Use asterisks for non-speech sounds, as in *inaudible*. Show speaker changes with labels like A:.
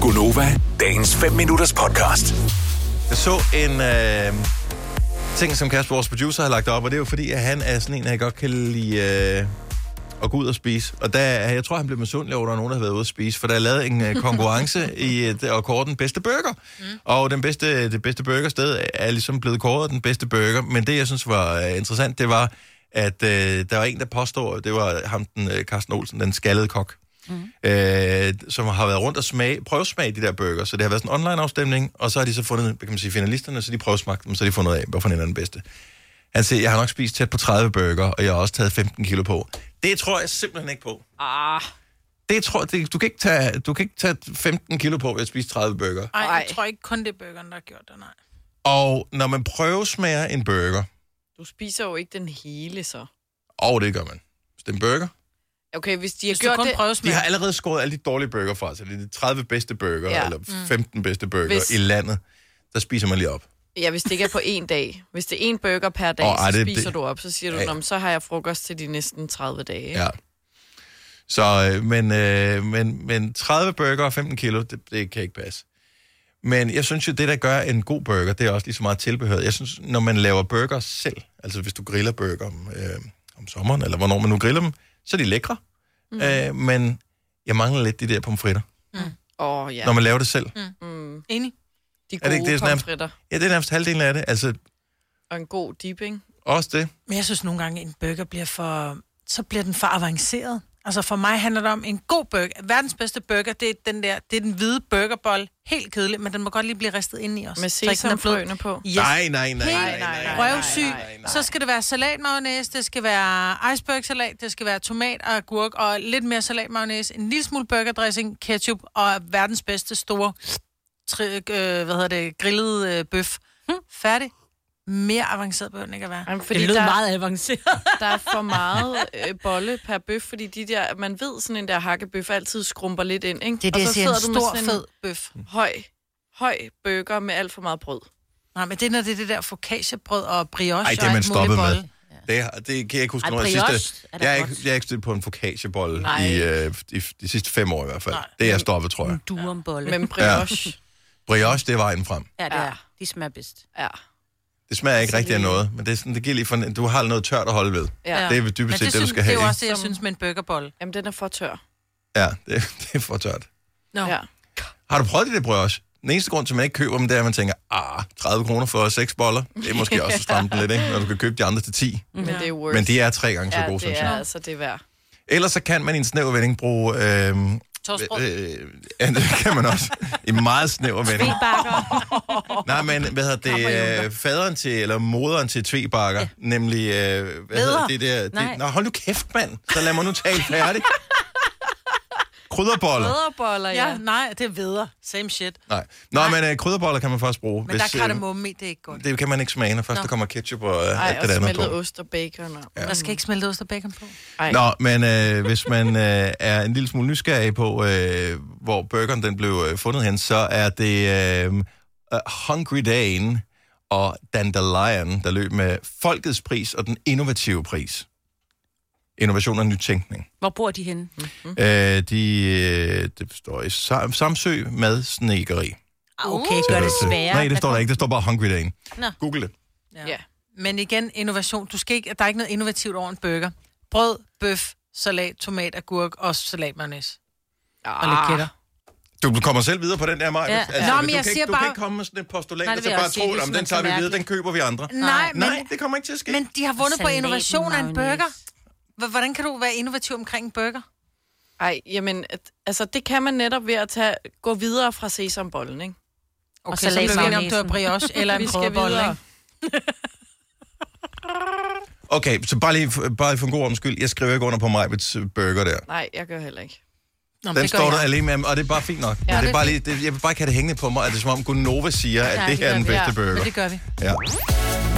A: Gunova, dagens 5 minutters podcast.
B: Jeg så en øh, ting, som Kasper, vores producer, har lagt op, og det er jo fordi, at han er sådan en, der godt kan lide øh, at gå ud og spise. Og der, er- jeg tror, han blev misundelig over, at der er nogen, der har været ude at spise, for der er lavet en øh, konkurrence i øh, at kåre den bedste burger. Mm. Og den bedste, øh, det bedste burgersted er ligesom blevet kåret den bedste burger. Men det, jeg synes var øh, interessant, det var, at øh, der var en, der påstår, det var ham, den, øh, Carsten Olsen, den skaldede kok øh, som har været rundt og smage, prøvesmage de der burger. Så det har været sådan en online-afstemning, og så har de så fundet, hvad kan man sige, finalisterne, så de prøvesmagt dem, så har de fundet ud af, hvorfor den er den bedste. Han siger, jeg har nok spist tæt på 30 burger, og jeg har også taget 15 kilo på. Det tror jeg simpelthen ikke på.
C: Ah,
B: Det tror, det, du, kan ikke tage, du kan ikke tage 15 kilo på ved at spise 30 burger.
C: ej,
D: Ej.
C: jeg tror ikke kun det er burgeren, der har gjort det, nej.
B: Og når man prøvesmager en burger,
D: Du spiser jo ikke den hele, så.
B: og det gør man, hvis det er en burger,
D: Okay, hvis de har
C: Hvis
D: gjort
C: du kun
D: det...
C: prøver
B: De
C: smag.
B: har allerede skåret alle de dårlige burger fra, så det er de 30 bedste burger, ja.
D: Ja.
B: eller 15 bedste burger Hvis... i
D: Hvis-
B: landet. Der spiser man lige op.
D: Ja, hvis det ikke er på én dag. Hvis det er én burger per dag,
B: Åh,
D: oh,
B: ej,
D: så
B: det-
D: spiser
B: det-
D: det... du op. Så siger du,
B: Ja.
D: ja. så har jeg frokost til de næsten 30 dage. ikke?"
B: Ja. Så, øh, men, øh, men, men 30 burger og 15 kilo, det, det kan ikke passe. Men jeg synes jo, det der gør en god burger, det er også lige så meget tilbehør. Jeg synes, når man laver burger selv, altså hvis du griller burger om, øh, om sommeren, eller hvornår man nu griller dem, så er de lækre. Mm. Øh, men jeg mangler lidt de der pomfritter,
D: Åh, oh, ja.
B: ja. når man laver det selv.
C: Enig.
D: De gode
B: det ikke
D: er det ikke
B: det, sådan er-
D: pomfritter.
B: Ja, det er nærmest halvdelen af det. Altså,
D: Og en god dipping.
B: også det.
C: Men jeg synes nogle gange, en burger bliver for... Så bliver den for avanceret. Altså for mig handler det om en god burger. Verdens bedste burger, det er den der, det er den hvide burgerbold. Helt kedelig, men den må godt lige blive ristet ind i os.
D: Med
C: Så ikke den er blød.
D: sesamfrøene på.
C: Yes.
B: Nej, nej, nej, nej,
C: Helt
B: nej, nej.
C: Røvsyg.
D: nej, nej,
C: Så skal det være salatmayonnaise, det skal være icebergsalat, det skal være tomat og agurk, og lidt mere salatmayonnaise, en lille smule burgerdressing, ketchup og verdens bedste store tri, øh, hvad hedder det, grillet øh, bøf.
B: Hmm.
C: Færdig. Mere avanceret behøver den ikke at være.
D: Jamen,
E: Fordi
D: fordi
E: det lød
D: der,
E: der... meget avanceret.
D: *laughs* der er for meget øh, bolle per bøf, fordi de der, man ved, sådan en der hakkebøf altid skrumper lidt ind, ikke?
E: Det er det,
D: og
E: jeg
D: så
E: siger,
D: sidder
E: en
D: du
C: Stor,
D: med sådan
C: fed
D: en
C: bøf.
D: høj, høj burger med alt for meget brød.
C: Nej, men det er, når det er det der focaccia-brød og brioche
B: Ej, det er
C: og
B: man
C: alt
B: stoppet
C: muligt
B: med.
C: bolle.
B: Det, har- det kan jeg ikke huske
E: Ej,
B: noget af
E: brioche
B: sidste...
E: er da
B: Jeg er, ikke,
E: godt.
B: jeg er ikke stødt på en focaccia-bolle
E: Nej.
B: i, øh, i de sidste fem år i hvert fald. Nej.
C: Nej. Mm.
B: Det er jeg stoppet, tror jeg.
E: Du om bolle.
D: Men brioche,
B: Brioche, det er vejen frem.
E: Ja, det
D: Ja.
E: er. De smager bedst.
D: ja.
B: Det smager ikke
D: Så
B: rigtig af
D: lige-
B: noget, men det, er sådan, det giver lige for, du har noget tørt at holde ved.
D: ja.
B: Det er dybest
C: Men
B: set det, du
C: synes,
B: skal have,
C: det er jo
B: ikke?
C: også det, jeg
D: Som-
C: synes med en burgerbolle.
D: Jamen, den er for tør.
B: Ja, det, *laughs* det er for tørt.
C: Nå.
D: Ja.
B: Har du prøvet det der brioche? Den eneste grund til, at man ikke køber dem, det er, at man tænker, ah, 30 kroner for seks boller. Det er måske også at stramme den lidt, ikke? Når du kan købe de andre til 10.
D: Men det er worth
B: Men de er tre gange så
D: ja,
B: gode, synes
D: det er
B: jeg.
D: altså det er værd.
B: Ellers så kan man i en snæver vending bruge... Øh,
C: Torsbrød.
B: øh, ja, det kan man også. I en meget snæver vending.
E: Bakker.
B: Nej, men hvad hedder det? Øh, faderen til, eller moderen til Tvebakker, ja. nemlig... Øh, hvad hedder
E: Leder.
B: det der? Det,
E: Nej.
B: nå, hold nu kæft, mand. Så lad mig nu tale færdig. krydderboller.
D: Fædreboller, ja.
C: *laughs* Ja, nej, det er videre. Same shit.
B: Nej. Nå, Nej. men øh, krydderboller kan man først bruge.
C: Men Hvis, der
B: øh,
C: er kardemomme i, det er ikke godt.
B: Det kan man ikke smage, når først Nå. der kommer ketchup og øh,
D: Ej,
B: alt
D: og
B: det der andet
D: smeltet
B: på.
D: ost og bacon. Og... Ja.
C: Der skal ikke smelte ost og bacon på.
D: Ej.
B: Nå, men øh, hvis man øh, er en lille smule nysgerrig på, øh, hvor burgeren den blev øh, fundet hen, så er det øh, øh, Hungry Dagen og Dandelion, der løb med Folkets Pris og den innovative pris. Innovation og nytænkning.
E: Hvor bor de henne? Mm.
B: Mm. Øh, de, øh, det står i Sam- Samsø med snekeri.
C: Ah,
E: Okay, gør det sværere.
B: Nej, det står der ikke. Det står bare Hungry Dagen.
E: Nå.
B: Google det.
D: Ja.
C: Men igen, innovation. Du skal ikke, der er ikke noget innovativt over en burger. Brød, bøf, salat, tomat, agurk og salatmayonnaise. Ah. Og lidt kætter.
B: Du kommer selv videre på den der, Maja. Altså,
E: Ja.
C: Nå,
B: du
C: men jeg
B: kan
C: siger
B: ikke, du kan
C: bare-
B: ikke komme med sådan et postulat,
E: Nej,
B: der
E: det vil
B: så
E: jeg
B: bare
E: også sige,
B: tror,
E: det
B: om
E: synes
B: den
E: jeg
B: tager
E: er
B: vi videre, den
E: mærkeligt."
B: køber vi andre.
C: Nej, men,
B: Nej, det kommer ikke til at ske.
C: men de har vundet på
E: Salaten,
C: innovation af en
E: mayonnaise.
C: burger. H- Hvordan kan du være innovativ omkring en burger?
D: Ej, jamen, at- altså det kan man netop ved at tage, gå videre fra sesambollen, ikke?
C: Okay, så
E: salat
C: vi skal ind, om
E: mayonnaise.
C: du har *laughs* brioche eller en
D: Vi skal
C: krødebolle,
D: videre.
C: ikke?
B: Okay, så bare lige, bare lige for en god omskyld. Jeg skriver ikke under på Majbets øh, burger der.
D: Nej, jeg gør heller ikke.
C: Nå, men
B: Den
C: det gør
B: står der
C: jeg.
B: alene med, og det er bare fint nok. Ja, det er
D: det er
B: bare lige, det, jeg vil bare ikke have det hængende på mig, at det er som om Gunnova siger, at
E: Nej,
B: det her er
E: det
B: den
E: gør vi,
B: bedste
D: ja.
B: burger.
C: Men det gør vi.
B: Ja.